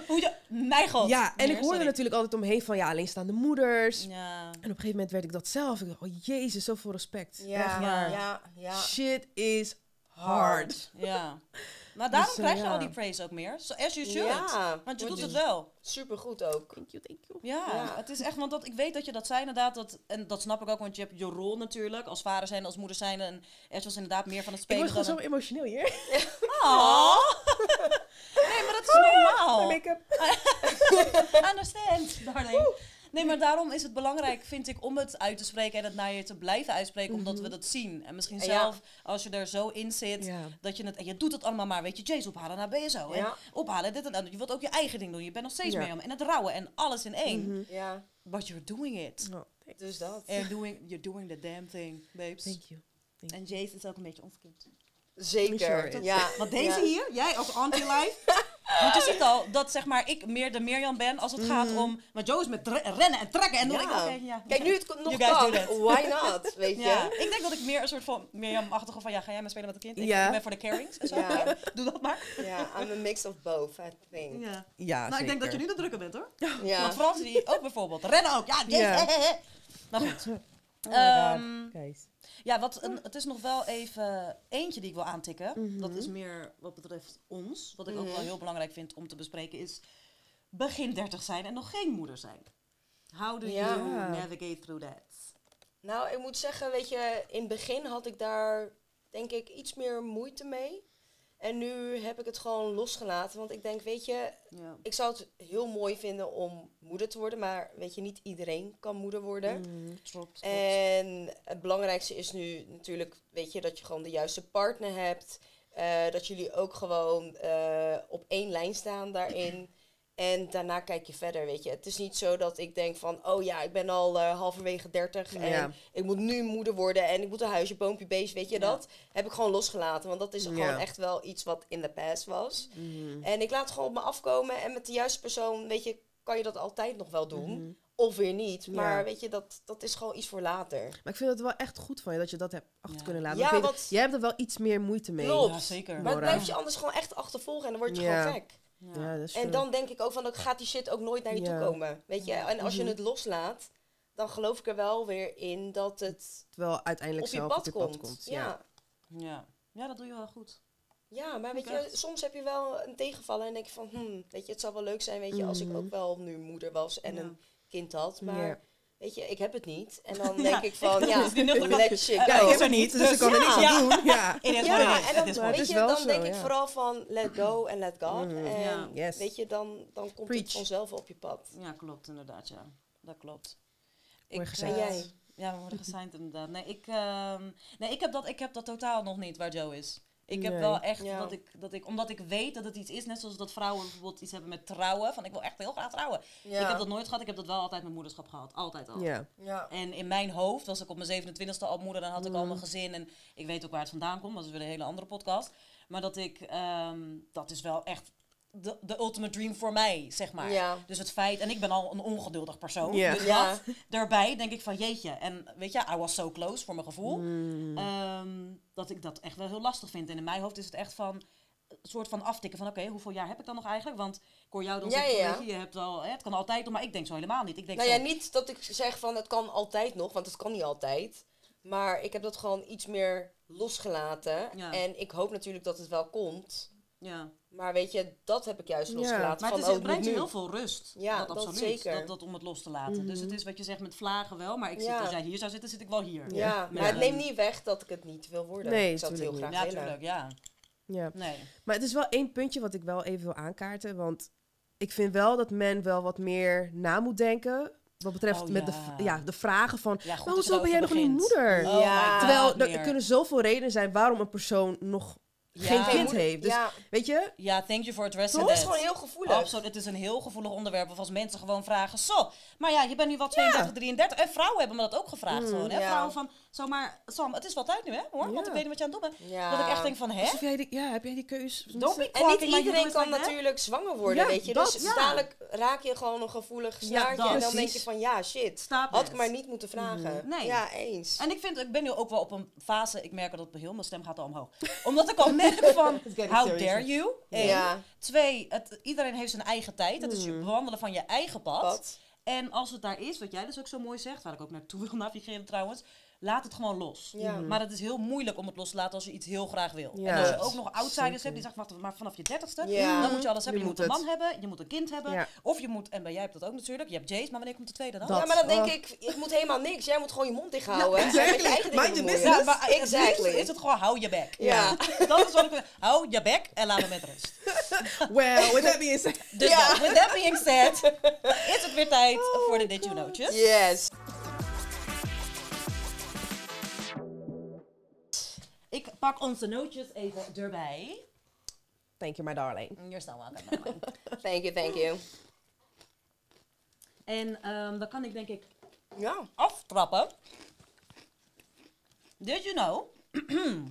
S1: Hoe je... Mijn god.
S3: ja, en
S1: Meer,
S3: ik hoorde
S1: sorry.
S3: natuurlijk altijd omheen van ja, alleenstaande moeders.
S1: Ja.
S3: En op een gegeven moment werd ik dat zelf. Ik dacht, oh jezus, zoveel respect.
S2: Ja,
S3: Echt
S2: ja,
S3: waar.
S2: ja, ja.
S3: Shit is hard.
S2: Hard.
S1: Ja. Maar daarom
S3: Dus, eh,
S1: krijg je
S3: ja.
S1: al die praise ook meer. So, as you should.
S2: Ja,
S1: Want je
S2: want
S1: doet
S2: je-
S1: het wel.
S2: Supergoed ook.
S3: Thank you, thank you.
S1: Ja,
S2: Ja.
S1: het is echt, want dat, ik weet dat je dat zei inderdaad. Dat, en dat snap ik ook, want je hebt je rol natuurlijk. Als vader zijn, als moeder zijn. En Ash was inderdaad meer van het
S3: Ik
S1: spelen
S3: word gewoon
S1: dan
S3: zo Oh. emotioneel hier.
S1: een- Aw. Nee, maar dat is normaal.
S3: Mijn make-up.
S1: Understand, darling. Nee, maar daarom is het belangrijk, vind ik, om het uit te spreken en het naar je te blijven uitspreken, omdat we dat zien. En misschien
S2: Ja.
S1: zelf, als je er zo in zit,
S3: Mhm. Ja.
S1: dat je het, en je doet het allemaal maar, weet je, Jace ophalen naar BSO. En
S2: Ja.
S1: ophalen dit en dat. Je wilt ook je eigen ding doen. Je bent nog steeds
S3: Ja.
S1: mee om. En het rouwen en alles in één.
S3: Mhm.
S2: Ja,
S1: But you're doing it.
S3: Oh, thank-
S2: dus dat.
S1: You're doing, you're doing the damn thing, babes.
S3: thank you.
S1: En Jace is ook een beetje ons kind.
S3: Sure
S2: Zeker.
S3: is.
S2: ja.
S1: Want deze
S2: ja.
S1: hier, jij als auntie life. want je ziet al dat zeg maar ik meer de Mirjam ben als het gaat om. Want Jo is met tre- rennen en trekken en dan
S2: Ja.
S1: denk ik, oké, Mhm. ja.
S2: Kijk, nu het ko- nog
S1: You guys
S2: kan,
S1: do that.
S2: why not, weet je?
S1: Ja, ik denk dat ik meer een soort van Mirjam-achtige van ja, ga jij maar spelen met het kind? Ik,
S3: Ja.
S1: ik ben voor de carings en zo.
S2: Ja.
S1: Doe dat maar.
S2: Ja, I'm a mix of both, I think.
S1: Ja.
S3: Ja,
S1: Nou, ik denk dat je nu de drukker bent hoor.
S2: Ja.
S1: Want Frans die ook bijvoorbeeld. Rennen ook. Ja, die.
S3: Ja.
S1: Maar goed.
S3: Oh my god,
S1: Ehm,
S3: guys.
S1: Ja, wat een, het is nog wel even eentje die ik wil aantikken. Dat is meer wat betreft ons. Wat ik ook wel heel belangrijk vind om te bespreken is... begin 30 zijn en nog geen moeder zijn. How do
S2: Ja.
S1: you navigate through that?
S2: Nou, ik moet zeggen, weet je, in het begin had ik daar denk ik iets meer moeite mee. En nu heb ik het gewoon losgelaten, want ik denk, weet je,
S1: Ja.
S2: ik zou het heel mooi vinden om moeder te worden, maar weet je, niet iedereen kan moeder worden.
S1: Mm. Klopt,
S2: Eh,
S1: klopt.
S2: En het belangrijkste is nu natuurlijk, weet je, dat je gewoon de juiste partner hebt. eh, dat jullie ook gewoon eh, op één lijn staan daarin. En daarna kijk je verder, weet je. Het is niet zo dat ik denk van, oh ja, ik ben al eh, halverwege 30 en
S3: Ja.
S2: ik moet nu moeder worden en ik moet een huisje, boompje, beest, weet je.
S1: Ja.
S2: Dat heb ik gewoon losgelaten, want dat is
S3: Ja.
S2: gewoon echt wel iets wat in de past was.
S3: Mhm.
S2: En ik laat het gewoon op me afkomen en met de juiste persoon, weet je, kan je dat altijd nog wel doen.
S3: Mhm.
S2: Of weer niet. Maar
S3: Ja.
S2: weet je, dat, dat is gewoon iets voor later.
S3: Maar ik vind het wel echt goed van je dat je dat hebt achter
S1: Ja.
S3: kunnen laten.
S2: Ja,
S3: Want ik weet
S2: want-
S3: het, jij hebt er wel iets meer moeite mee.
S2: Klopt.
S1: Ja, zeker.
S2: Maar het
S3: Nora.
S2: blijft je anders gewoon echt achtervolgen en dan word je
S3: Ja.
S2: gewoon gek.
S3: Ja, dat is
S2: En
S3: true.
S2: dan denk ik ook van, dan gaat die shit ook nooit naar je
S3: Ja. Mhm.
S2: toe komen. Weet je, en als je het loslaat, dan geloof ik er wel weer in dat het
S3: wel uiteindelijk
S2: op je
S3: zelf
S2: pad
S3: op je
S2: komt.
S3: pad komt.
S2: ja. Ja.
S1: Ja. ja, dat doe je wel goed.
S2: maar weet
S1: Ik
S2: je,
S1: echt.
S2: soms heb je wel een tegenvallen en denk je van, hmm, weet je, het zou wel leuk zijn, weet je, als ik
S3: Mhm.
S2: ook wel nu moeder was en
S1: Ja.
S2: een kind had.
S3: Ja.
S2: Maar weet je, ik heb het niet. En dan
S1: Ja,
S2: denk ik van,
S1: ik-
S2: ja,
S1: dus die nuchter kan-
S2: lekker shit.
S1: Ja,
S3: Ja,
S1: ik
S3: ik
S1: heb
S3: heb
S1: er
S3: er
S1: niet,
S3: niet,
S1: dus
S3: dus ik kan er
S2: ja.
S3: niks aan doen. Ja.
S1: It is what it
S2: Ja,
S1: is
S2: en
S1: at
S2: dan,
S1: this point.
S3: Maar het
S2: weet
S3: is
S2: je,
S3: wel
S2: dan
S3: zo,
S2: denk ik
S3: ja.
S2: vooral van let go en let God.
S3: Mhm.
S2: En
S1: Ja.
S3: Yes.
S2: weet je, dan, dan komt
S3: Preach.
S2: het vanzelf op je pad.
S1: Ja, klopt inderdaad, ja. Dat klopt.
S3: Mooi
S1: eh,
S3: gezegd.
S2: En jij?
S1: Ja, we worden gesigned inderdaad. Nee, ik, ehm, nee ik, heb dat, ik heb dat totaal nog niet waar Joe is. Ik heb
S3: Nee.
S1: wel echt
S2: Ja.
S1: dat, ik, dat ik, omdat ik weet dat het iets is, net zoals dat vrouwen bijvoorbeeld iets hebben met trouwen, van ik wil echt heel graag trouwen.
S2: Ja.
S1: Ik heb dat nooit gehad, ik heb dat wel altijd met moederschap gehad, altijd al.
S3: Ja.
S2: Ja.
S1: En in mijn hoofd was ik op mijn 27e al moeder, dan had ik al
S3: Mm.
S1: mijn gezin en ik weet ook waar het vandaan komt, dat is weer een hele andere podcast. Maar dat ik, ehm, dat is wel echt de, de ultimate dream voor mij, zeg maar.
S2: Ja.
S1: Dus het feit, en ik ben al een ongeduldig persoon,
S3: Ja.
S1: dus
S2: Ja.
S1: dat, daarbij denk ik van jeetje. En weet je, I was so close voor mijn gevoel.
S2: Mm.
S1: Ehm, dat ik dat echt wel heel lastig vind. En in mijn hoofd is het echt van een soort van aftikken van oké, hoeveel jaar heb ik dan nog eigenlijk? Want ik hoor jou dan
S2: Ja,
S1: zeggen,
S2: ja.
S1: weet je, je hebt al, hè, het kan altijd nog, maar ik denk zo helemaal niet. Ik denk
S2: Nou
S1: zo,
S2: ja, niet dat ik zeg van het kan altijd nog, want het kan niet altijd. Maar ik heb dat gewoon iets meer losgelaten.
S1: Ja.
S2: En ik hoop natuurlijk dat het wel komt.
S1: ja.
S2: Maar weet je, dat heb ik juist
S3: Ja,
S2: losgelaten.
S1: Maar het,
S2: van,
S1: is,
S2: oh,
S1: het brengt je
S2: moet nu.
S1: heel veel rust.
S2: Ja,
S1: dat,
S2: dat
S1: absoluut.
S2: zeker. Mhm.
S1: Dat, dat om het los te laten. Dus het is wat je zegt met vlagen wel, maar ik zit,
S2: Ja.
S1: als jij hier zou zitten, zit ik wel hier.
S2: Ja, maar het
S1: Ja.
S2: neemt niet weg dat ik het niet wil worden.
S3: Nee,
S2: ik zou het heel
S3: tuurlijk
S2: graag
S1: Ja,
S2: willen.
S1: tuurlijk, ja.
S3: ja.
S1: Nee.
S3: Maar het is wel één puntje wat ik wel even wil aankaarten. Want ik vind wel dat men wel wat meer na moet denken. Wat betreft
S1: Oh,
S3: met De,
S1: ja.
S3: v- ja, de vragen van...
S1: Ja, goed
S3: maar
S1: dat je
S3: hoezo ben jij nog
S1: daarover
S3: geen
S1: begint. Oh
S3: moeder?
S1: my
S2: Ja.
S1: God,
S3: Terwijl er
S1: meer.
S3: kunnen zoveel redenen zijn waarom een persoon nog
S1: Ja.
S3: geen
S1: Geen
S3: kind
S2: moeder-
S3: heeft. Dus
S2: ja.
S3: weet je,
S1: Ja, thank you for addressing
S2: Het is
S1: that.
S2: gewoon heel gevoelig.
S1: Absoluut, het is een heel gevoelig onderwerp. Of als mensen gewoon vragen, zo, maar ja, je bent nu wel 32, 33. En vrouwen hebben me dat ook gevraagd. gewoon, hè?
S2: Mm, Ja.
S1: Vrouwen van, zo maar, Sam, het is wel tijd nu, hè, hoor. Want
S3: Ja.
S1: ik weet niet wat je aan het doen bent.
S2: Ja. Dus
S1: Dat ik echt denk van, hè?
S3: alsof Dus jij die, ja, heb jij die keus?
S1: Don't be
S2: En niet
S1: quarking my
S2: iedereen
S1: uterus
S2: kan
S1: like that.
S2: natuurlijk zwanger worden,
S3: Ja,
S2: weet je.
S3: dat,
S2: dus
S1: ja.
S2: dadelijk raak je gewoon een gevoelig snaartje.
S1: dat.
S2: en dan denk je
S3: Precies. Mhm,
S2: van, ja, shit.
S1: Stop
S2: had
S1: it.
S2: ik maar niet moeten vragen.
S1: Nee.
S2: Ja, eens.
S1: En ik vind, ik ben nu ook wel op een fase, ik merk dat heel mijn stem gaat al omhoog. Omdat ik al merk van,
S3: getting
S1: how
S3: serious.
S1: dare you? Eén.
S2: Ja. Mm.
S1: Twee, het, iedereen heeft zijn eigen tijd. Het is je bewandelen van je eigen pad.
S2: Pad.
S1: En als het daar is, wat jij dus ook zo mooi zegt, waar ik ook naartoe wil navigeren trouwens, laat het gewoon los.
S2: Ja. Mhm.
S1: Maar het is heel moeilijk om het los te laten als je iets heel graag wil.
S3: Ja.
S1: En als je ook nog outsiders
S3: Zeker.
S1: hebt die zeggen, wacht, maar vanaf je dertigste,
S2: Ja.
S1: dan moet je alles hebben. Je,
S3: Je
S1: moet,
S3: moet
S1: een
S3: het.
S1: man hebben, je moet een kind hebben.
S3: Ja.
S1: Of je moet, en bij jij hebt dat ook natuurlijk, je hebt Jace, maar wanneer komt de tweede dan?
S3: Dat.
S2: Ja, maar dan denk
S3: Oh.
S2: ik, ik moet helemaal niks. Jij moet gewoon je mond dicht houden. en met je
S3: exactly.
S2: eigen dingen
S3: Mind your
S2: bemoeien.
S3: business.
S1: Ja, maar het liefst
S2: exactly.
S1: is het gewoon hou je bek.
S2: Ja.
S1: dat is wat ik wil. Hou je bek en laat me met rust.
S3: Well, with that being said.
S1: Dus
S2: Ja.
S1: nou, with that being said, is het weer tijd voor de Did You Knowtjes.
S2: Yes.
S1: Ik pak onze nootjes even erbij.
S3: Thank you, my darling.
S1: Hier staan we aan.
S2: Thank you, thank you.
S1: En ehm, dan kan ik denk ik
S2: Ja.
S1: aftrappen. Did you know?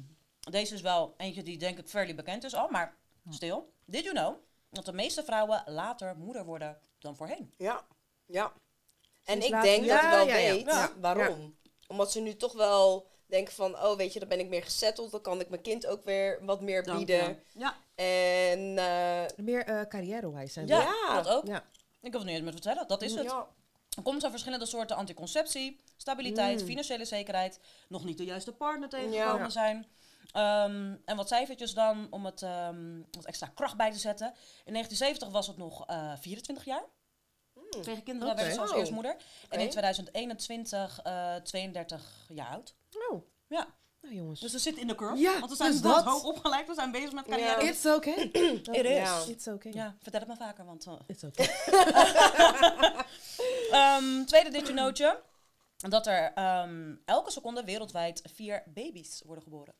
S1: Deze is wel eentje die denk ik fairly bekend is al, maar stil. Did you know? Dat de meeste vrouwen later moeder worden dan voorheen.
S2: Ja. Ja. En
S3: Sinds
S2: ik
S3: laatst-
S2: denk
S3: Ja,
S2: dat ik wel
S3: ja, ja.
S2: weet
S3: Ja.
S2: waarom. Omdat ze nu toch wel denken van, oh weet je, dan ben ik meer gezetteld. Dan kan ik mijn kind ook weer wat meer
S1: Dan,
S2: bieden.
S1: Ja.
S2: En eh,
S3: Meer eh, carrière-wise zijn
S1: Ja,
S3: we.
S2: Ja.
S1: dat ook.
S3: Ja.
S1: Ik hoef het niet eens meer te vertellen, dat is het.
S2: ja.
S1: Er komt aan verschillende soorten anticonceptie, stabiliteit,
S3: Mm.
S1: financiële zekerheid, nog niet de juiste partner tegengekomen
S2: Ja.
S1: zijn. Ehm, en wat cijfertjes dan om het ehm, wat extra kracht bij te zetten. In 1970 was het nog eh, 24 jaar. Tegen kinderen
S3: Mm. Oké.
S1: werden ze als
S2: Oh.
S1: eerstmoeder. En
S2: Oké.
S1: in 2021 eh, 32 jaar oud.
S3: Oh,
S1: Ja,
S3: nou jongens.
S1: dus we zitten in de curve.
S3: Ja,
S1: want we zijn
S3: dus
S1: dat
S3: dat.
S1: hoog opgeleid, we zijn bezig met carrière.
S2: Ja.
S1: Ja.
S3: It's okay. It
S1: Oh. is.
S3: It's okay.
S1: vertel het maar vaker, want... eh,
S3: It's okay.
S1: Ehm, tweede ditje nootje. Dat er ehm, elke seconde wereldwijd vier baby's worden geboren.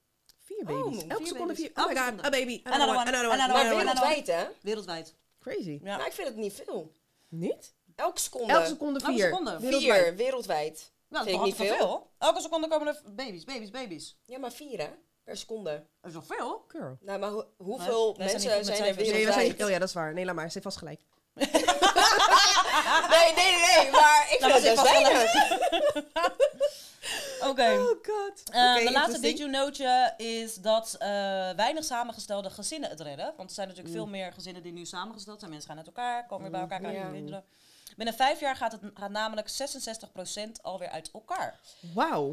S3: Vier baby's.
S2: vier
S3: Elke seconde
S1: baby's.
S3: vier. Oh my
S1: Elke
S3: god,
S1: seconde.
S3: a baby.
S1: Another one, another
S2: Maar
S1: one.
S2: wereldwijd, hè?
S1: Wereldwijd.
S3: Crazy.
S1: Ja.
S2: Nou, ik vind het niet veel.
S3: Niet?
S2: Elke seconde.
S3: Elke seconde
S1: Elke
S3: vier.
S1: seconde.
S2: Vier,
S3: Wereldwijd.
S2: wereldwijd.
S1: Nou,
S2: vind ik niet veel.
S1: Elke seconde komen er baby's, baby's, baby's.
S2: Ja, maar vier, hè? Per seconde.
S1: Dat is nog veel?
S3: Girl.
S2: Nou, maar hoe- hoeveel
S1: wij zijn
S2: mensen
S1: niet
S2: zijn,
S1: goed met
S2: er
S1: cijfers.
S3: Nee, we
S2: wereldwijd?
S3: zijn, oh ja, dat is waar. Nee, laat maar. Ze heeft vast gelijk.
S2: nee, nee, nee, nee, maar ik
S1: Nou,
S2: vind
S1: dat is
S2: het dus best
S1: vast wel
S2: weinig.
S1: Oké.
S3: Oh god.
S1: Eh, de laatste
S3: interesting.
S1: did you nootje is dat eh, weinig samengestelde gezinnen het redden. Want er zijn natuurlijk veel meer gezinnen die nu samengesteld zijn. Mensen gaan uit elkaar, komen weer bij elkaar, krijgen
S2: Ja.
S1: weer kinderen. Binnen vijf jaar gaat, het, gaat namelijk 66% alweer uit elkaar.
S3: Wauw.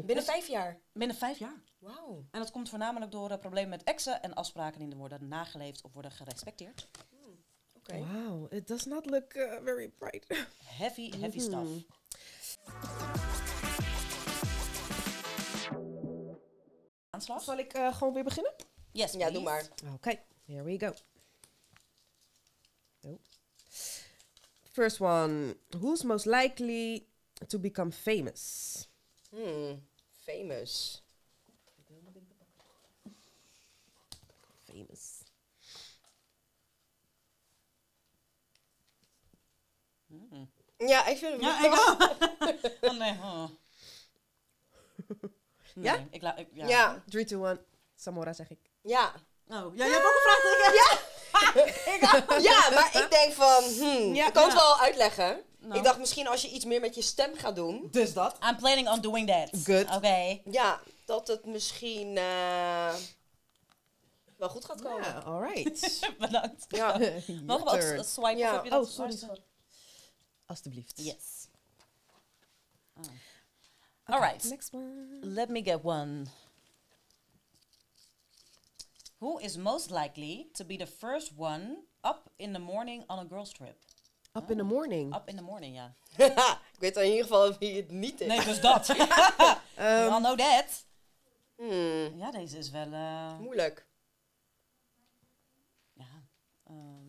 S2: Binnen vijf jaar.
S1: Binnen vijf jaar.
S2: Wauw.
S1: En dat komt voornamelijk door eh, problemen met exen en afspraken die er worden nageleefd of worden gerespecteerd.
S2: Oké.
S3: Wow, it does not look uh, very bright.
S1: Heavy, heavy
S3: Mhm.
S1: stuff. Aanslag?
S3: Zal ik eh, gewoon weer beginnen?
S1: Yes,
S2: Ja, doe
S1: please.
S2: maar.
S3: Oké, here we go. Oh. First one. Who's most likely to become famous?
S2: Hmm, famous. Ja, ik vind het
S1: Hmm. Ja,
S2: wel-
S1: ik ook. Oh, nee. oh. Nee,
S3: Ja?
S1: Ik la- ik, ja.
S2: Ja. ja.
S3: 3, 2, 1. Samora zeg ik.
S1: Oh, ja, jij hebt ook een vraag. Ja.
S2: Ja, maar ik denk van, hmm,
S1: Ja,
S2: ik kan
S1: ja.
S2: het wel uitleggen.
S1: Nou.
S2: Ik dacht misschien als je iets meer met je stem gaat doen.
S3: Dus dat.
S1: I'm planning on doing that.
S3: Good.
S1: Oké.
S2: Ja, dat het misschien eh, wel goed gaat komen.
S3: Ja, alright.
S1: Bedankt.
S2: Ja.
S1: Mag
S3: Your
S1: wel
S3: turn.
S1: s- swipen?
S2: Ja.
S1: Of heb je dat
S3: Oh, sorry,
S1: Oh,
S3: Alsjeblieft.
S1: Yes.
S3: Oh.
S1: All right.
S3: Next one.
S1: Let me get one. Who is most likely to be the first one up in the morning on a girls trip?
S3: Oh. Up in the morning.
S1: Up in the morning, ja.
S2: ik weet in ieder geval wie het niet is.
S1: Nee, dus dat. We
S2: Ehm.
S1: all know that.
S2: Hmm,
S1: Ja, deze is wel... eh,
S2: moeilijk.
S1: ja. ehm,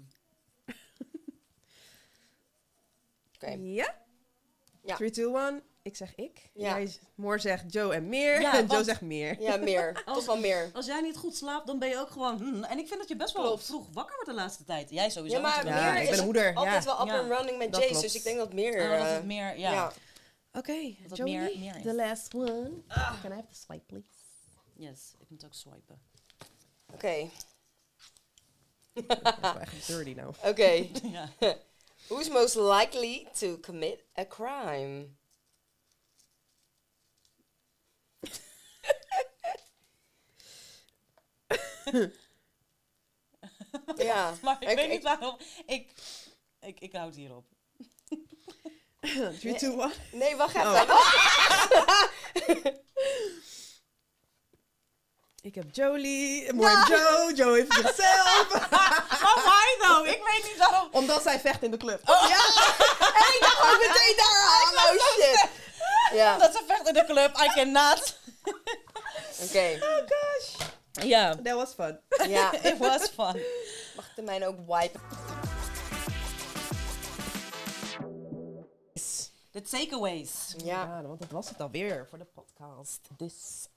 S2: Oké.
S3: Ja?
S2: Ja.
S3: 3, 2, 1. Ik zeg ik.
S2: Ja.
S3: Jij z- Moor zegt Joe en meer.
S1: Ja,
S3: en Joe
S1: want-
S3: zegt meer.
S2: Ja, meer. Toch wel meer.
S1: als jij niet goed slaapt, dan ben je ook gewoon... hmm. En ik vind dat je best wel
S2: Klopt.
S1: vroeg wakker wordt de laatste tijd. Jij sowieso.
S2: Ja, maar
S1: natuurlijk.
S3: Ja,
S2: meer is
S3: ik ben een
S2: het
S3: moeder,
S2: altijd
S3: ja.
S2: wel up
S1: Ja.
S2: and running met
S3: Dat
S2: Jace,
S3: klopt.
S2: dus ik denk dat meer...
S1: Ah, dat
S2: eh,
S1: is meer,
S2: ja.
S1: ja.
S3: Oké,
S1: dat
S3: Joey,
S1: meer- meer is.
S3: the last one. Can I have the swipe, please?
S1: Yes, ik moet ook swipen.
S2: Oké,
S3: Dat is wel echt dirty nou.
S2: oké.
S1: ja.
S2: Who's most likely to commit a crime? ja,
S1: Maar ik,
S2: ik-
S1: weet niet
S2: ik-
S1: waarom. Ik, ik, ik houd hierop.
S3: 3, 2, 1.
S2: nee, wacht even.
S1: Oh.
S3: Ik heb Jolie, Moor heeft Joe, Joe heeft zichzelf.
S1: Oh, why though? Ik weet niet waarom.
S3: Omdat zij vecht in de club.
S2: Ja, en ik dacht ook meteen daar aan. Oh shit. Ja, oké.
S1: Dat ze vecht in de club. I cannot.
S3: Oh gosh.
S1: Ja.
S3: That was fun.
S2: Ja,
S1: It was fun.
S2: mag ik de mijne ook wipen?
S1: De takeaways.
S2: Ja.
S3: Ja, want dat was het alweer voor de podcast. Dus,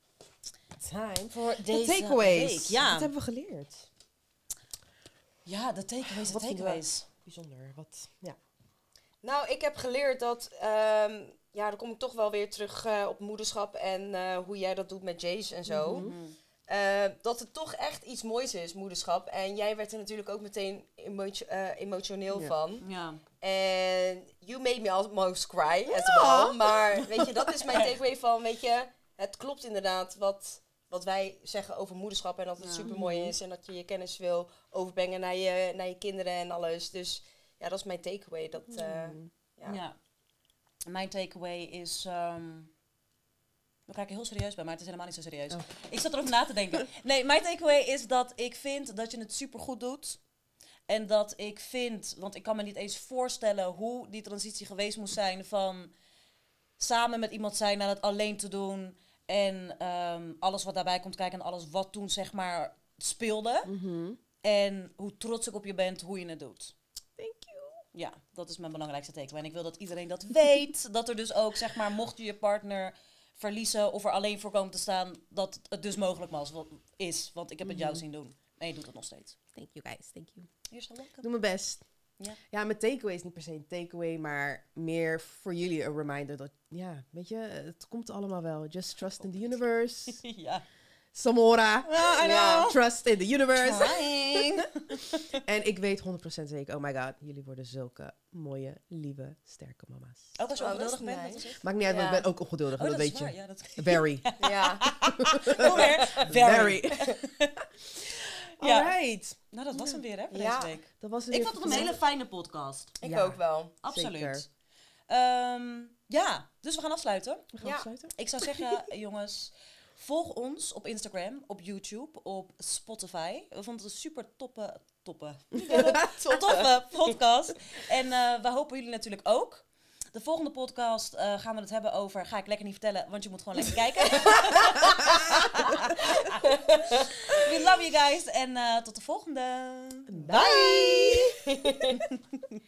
S3: This time for the
S1: deze
S3: takeaways.
S1: uh, week, ja.
S3: Wat hebben we geleerd?
S1: Ja, de takeaways, de
S3: Wat vinden
S1: takeaways.
S3: Bijzonder, wat, ja.
S2: Nou, ik heb geleerd dat, ehm, ja, dan kom ik toch wel weer terug eh, op moederschap en eh, hoe jij dat doet met Jace en zo.
S1: Mm.
S2: Eh, dat het toch echt iets moois is, moederschap. En jij werd er natuurlijk ook meteen emotio- eh, emotioneel
S3: Ja.
S2: van.
S1: Ja.
S2: En you made me almost cry as
S3: Ja.
S2: well. Maar weet je, dat is mijn takeaway van, weet je, het klopt inderdaad wat, wat wij zeggen over moederschap. En dat het
S1: Ja.
S2: super mooi is en dat je je kennis wil overbrengen naar je, naar je kinderen en alles. Dus ja, dat is mijn takeaway. Dat, eh,
S1: ja.
S2: ja.
S1: Mijn takeaway is... ehm we kijken heel serieus bij, maar het is helemaal niet zo serieus.
S3: Oh.
S1: Ik zat erover na te denken. Nee, mijn takeaway is dat ik vind dat je het supergoed doet. En dat ik vind, want ik kan me niet eens voorstellen hoe die transitie geweest moest zijn van samen met iemand zijn naar het alleen te doen. En ehm, alles wat daarbij komt kijken en alles wat toen zeg maar speelde. En hoe trots ik op je bent, hoe je het doet.
S3: Thank you.
S1: Ja, dat is mijn belangrijkste takeaway. En ik wil dat iedereen dat weet. dat er dus ook, zeg maar, mocht je je partner verliezen of er alleen voor komen te staan, dat het dus mogelijk was, wa- is. Want ik heb het jou zien doen. En je doet het nog steeds.
S3: Thank you guys, thank you.
S1: You're so welcome.
S3: Ik doe mijn best.
S1: Ja.
S3: Ja, mijn takeaway is niet per se een takeaway, maar meer voor jullie een reminder dat, ja, weet je, het komt allemaal wel. Just trust in the universe.
S1: ja.
S3: Samora.
S1: Ah, I
S3: Ja,
S1: know.
S3: Trust in the universe.
S1: Trying.
S3: En ik weet 100% zeker, oh my god, jullie worden zulke mooie, lieve, sterke mama's.
S1: Ook als je
S2: Oh,
S1: ongeduldig
S2: dat is
S1: bent,
S2: nice.
S1: dat is het.
S3: Maakt niet uit, want
S2: Ja.
S3: ik ben ook ongeduldig,
S1: Oh,
S3: dat,
S1: dat is
S3: weet
S1: waar.
S3: je.
S1: Ja, dat
S3: Very.
S2: Ja,
S1: Hoe weer? Very. Ja.
S3: Alright.
S1: Nou, dat was hem weer, hè, voor
S2: Ja.
S1: deze week.
S3: Dat was het
S1: Ik
S3: weer
S1: vond het
S3: voor
S1: een hele
S3: vandaag.
S1: fijne podcast.
S2: ik
S3: Ja.
S2: ook wel.
S1: Absoluut.
S3: Zeker.
S1: Ehm, ja, dus we gaan afsluiten.
S3: We gaan
S2: Ja.
S3: afsluiten.
S1: Ik zou zeggen, jongens, volg ons op Instagram, op YouTube, op Spotify. We vonden het een super toppe, toppe, toffe podcast. En eh, we hopen jullie natuurlijk ook. De volgende podcast eh, gaan we het hebben over. Ga ik lekker niet vertellen, want je moet gewoon lekker kijken. We love you guys en eh, tot de volgende.
S3: Bye.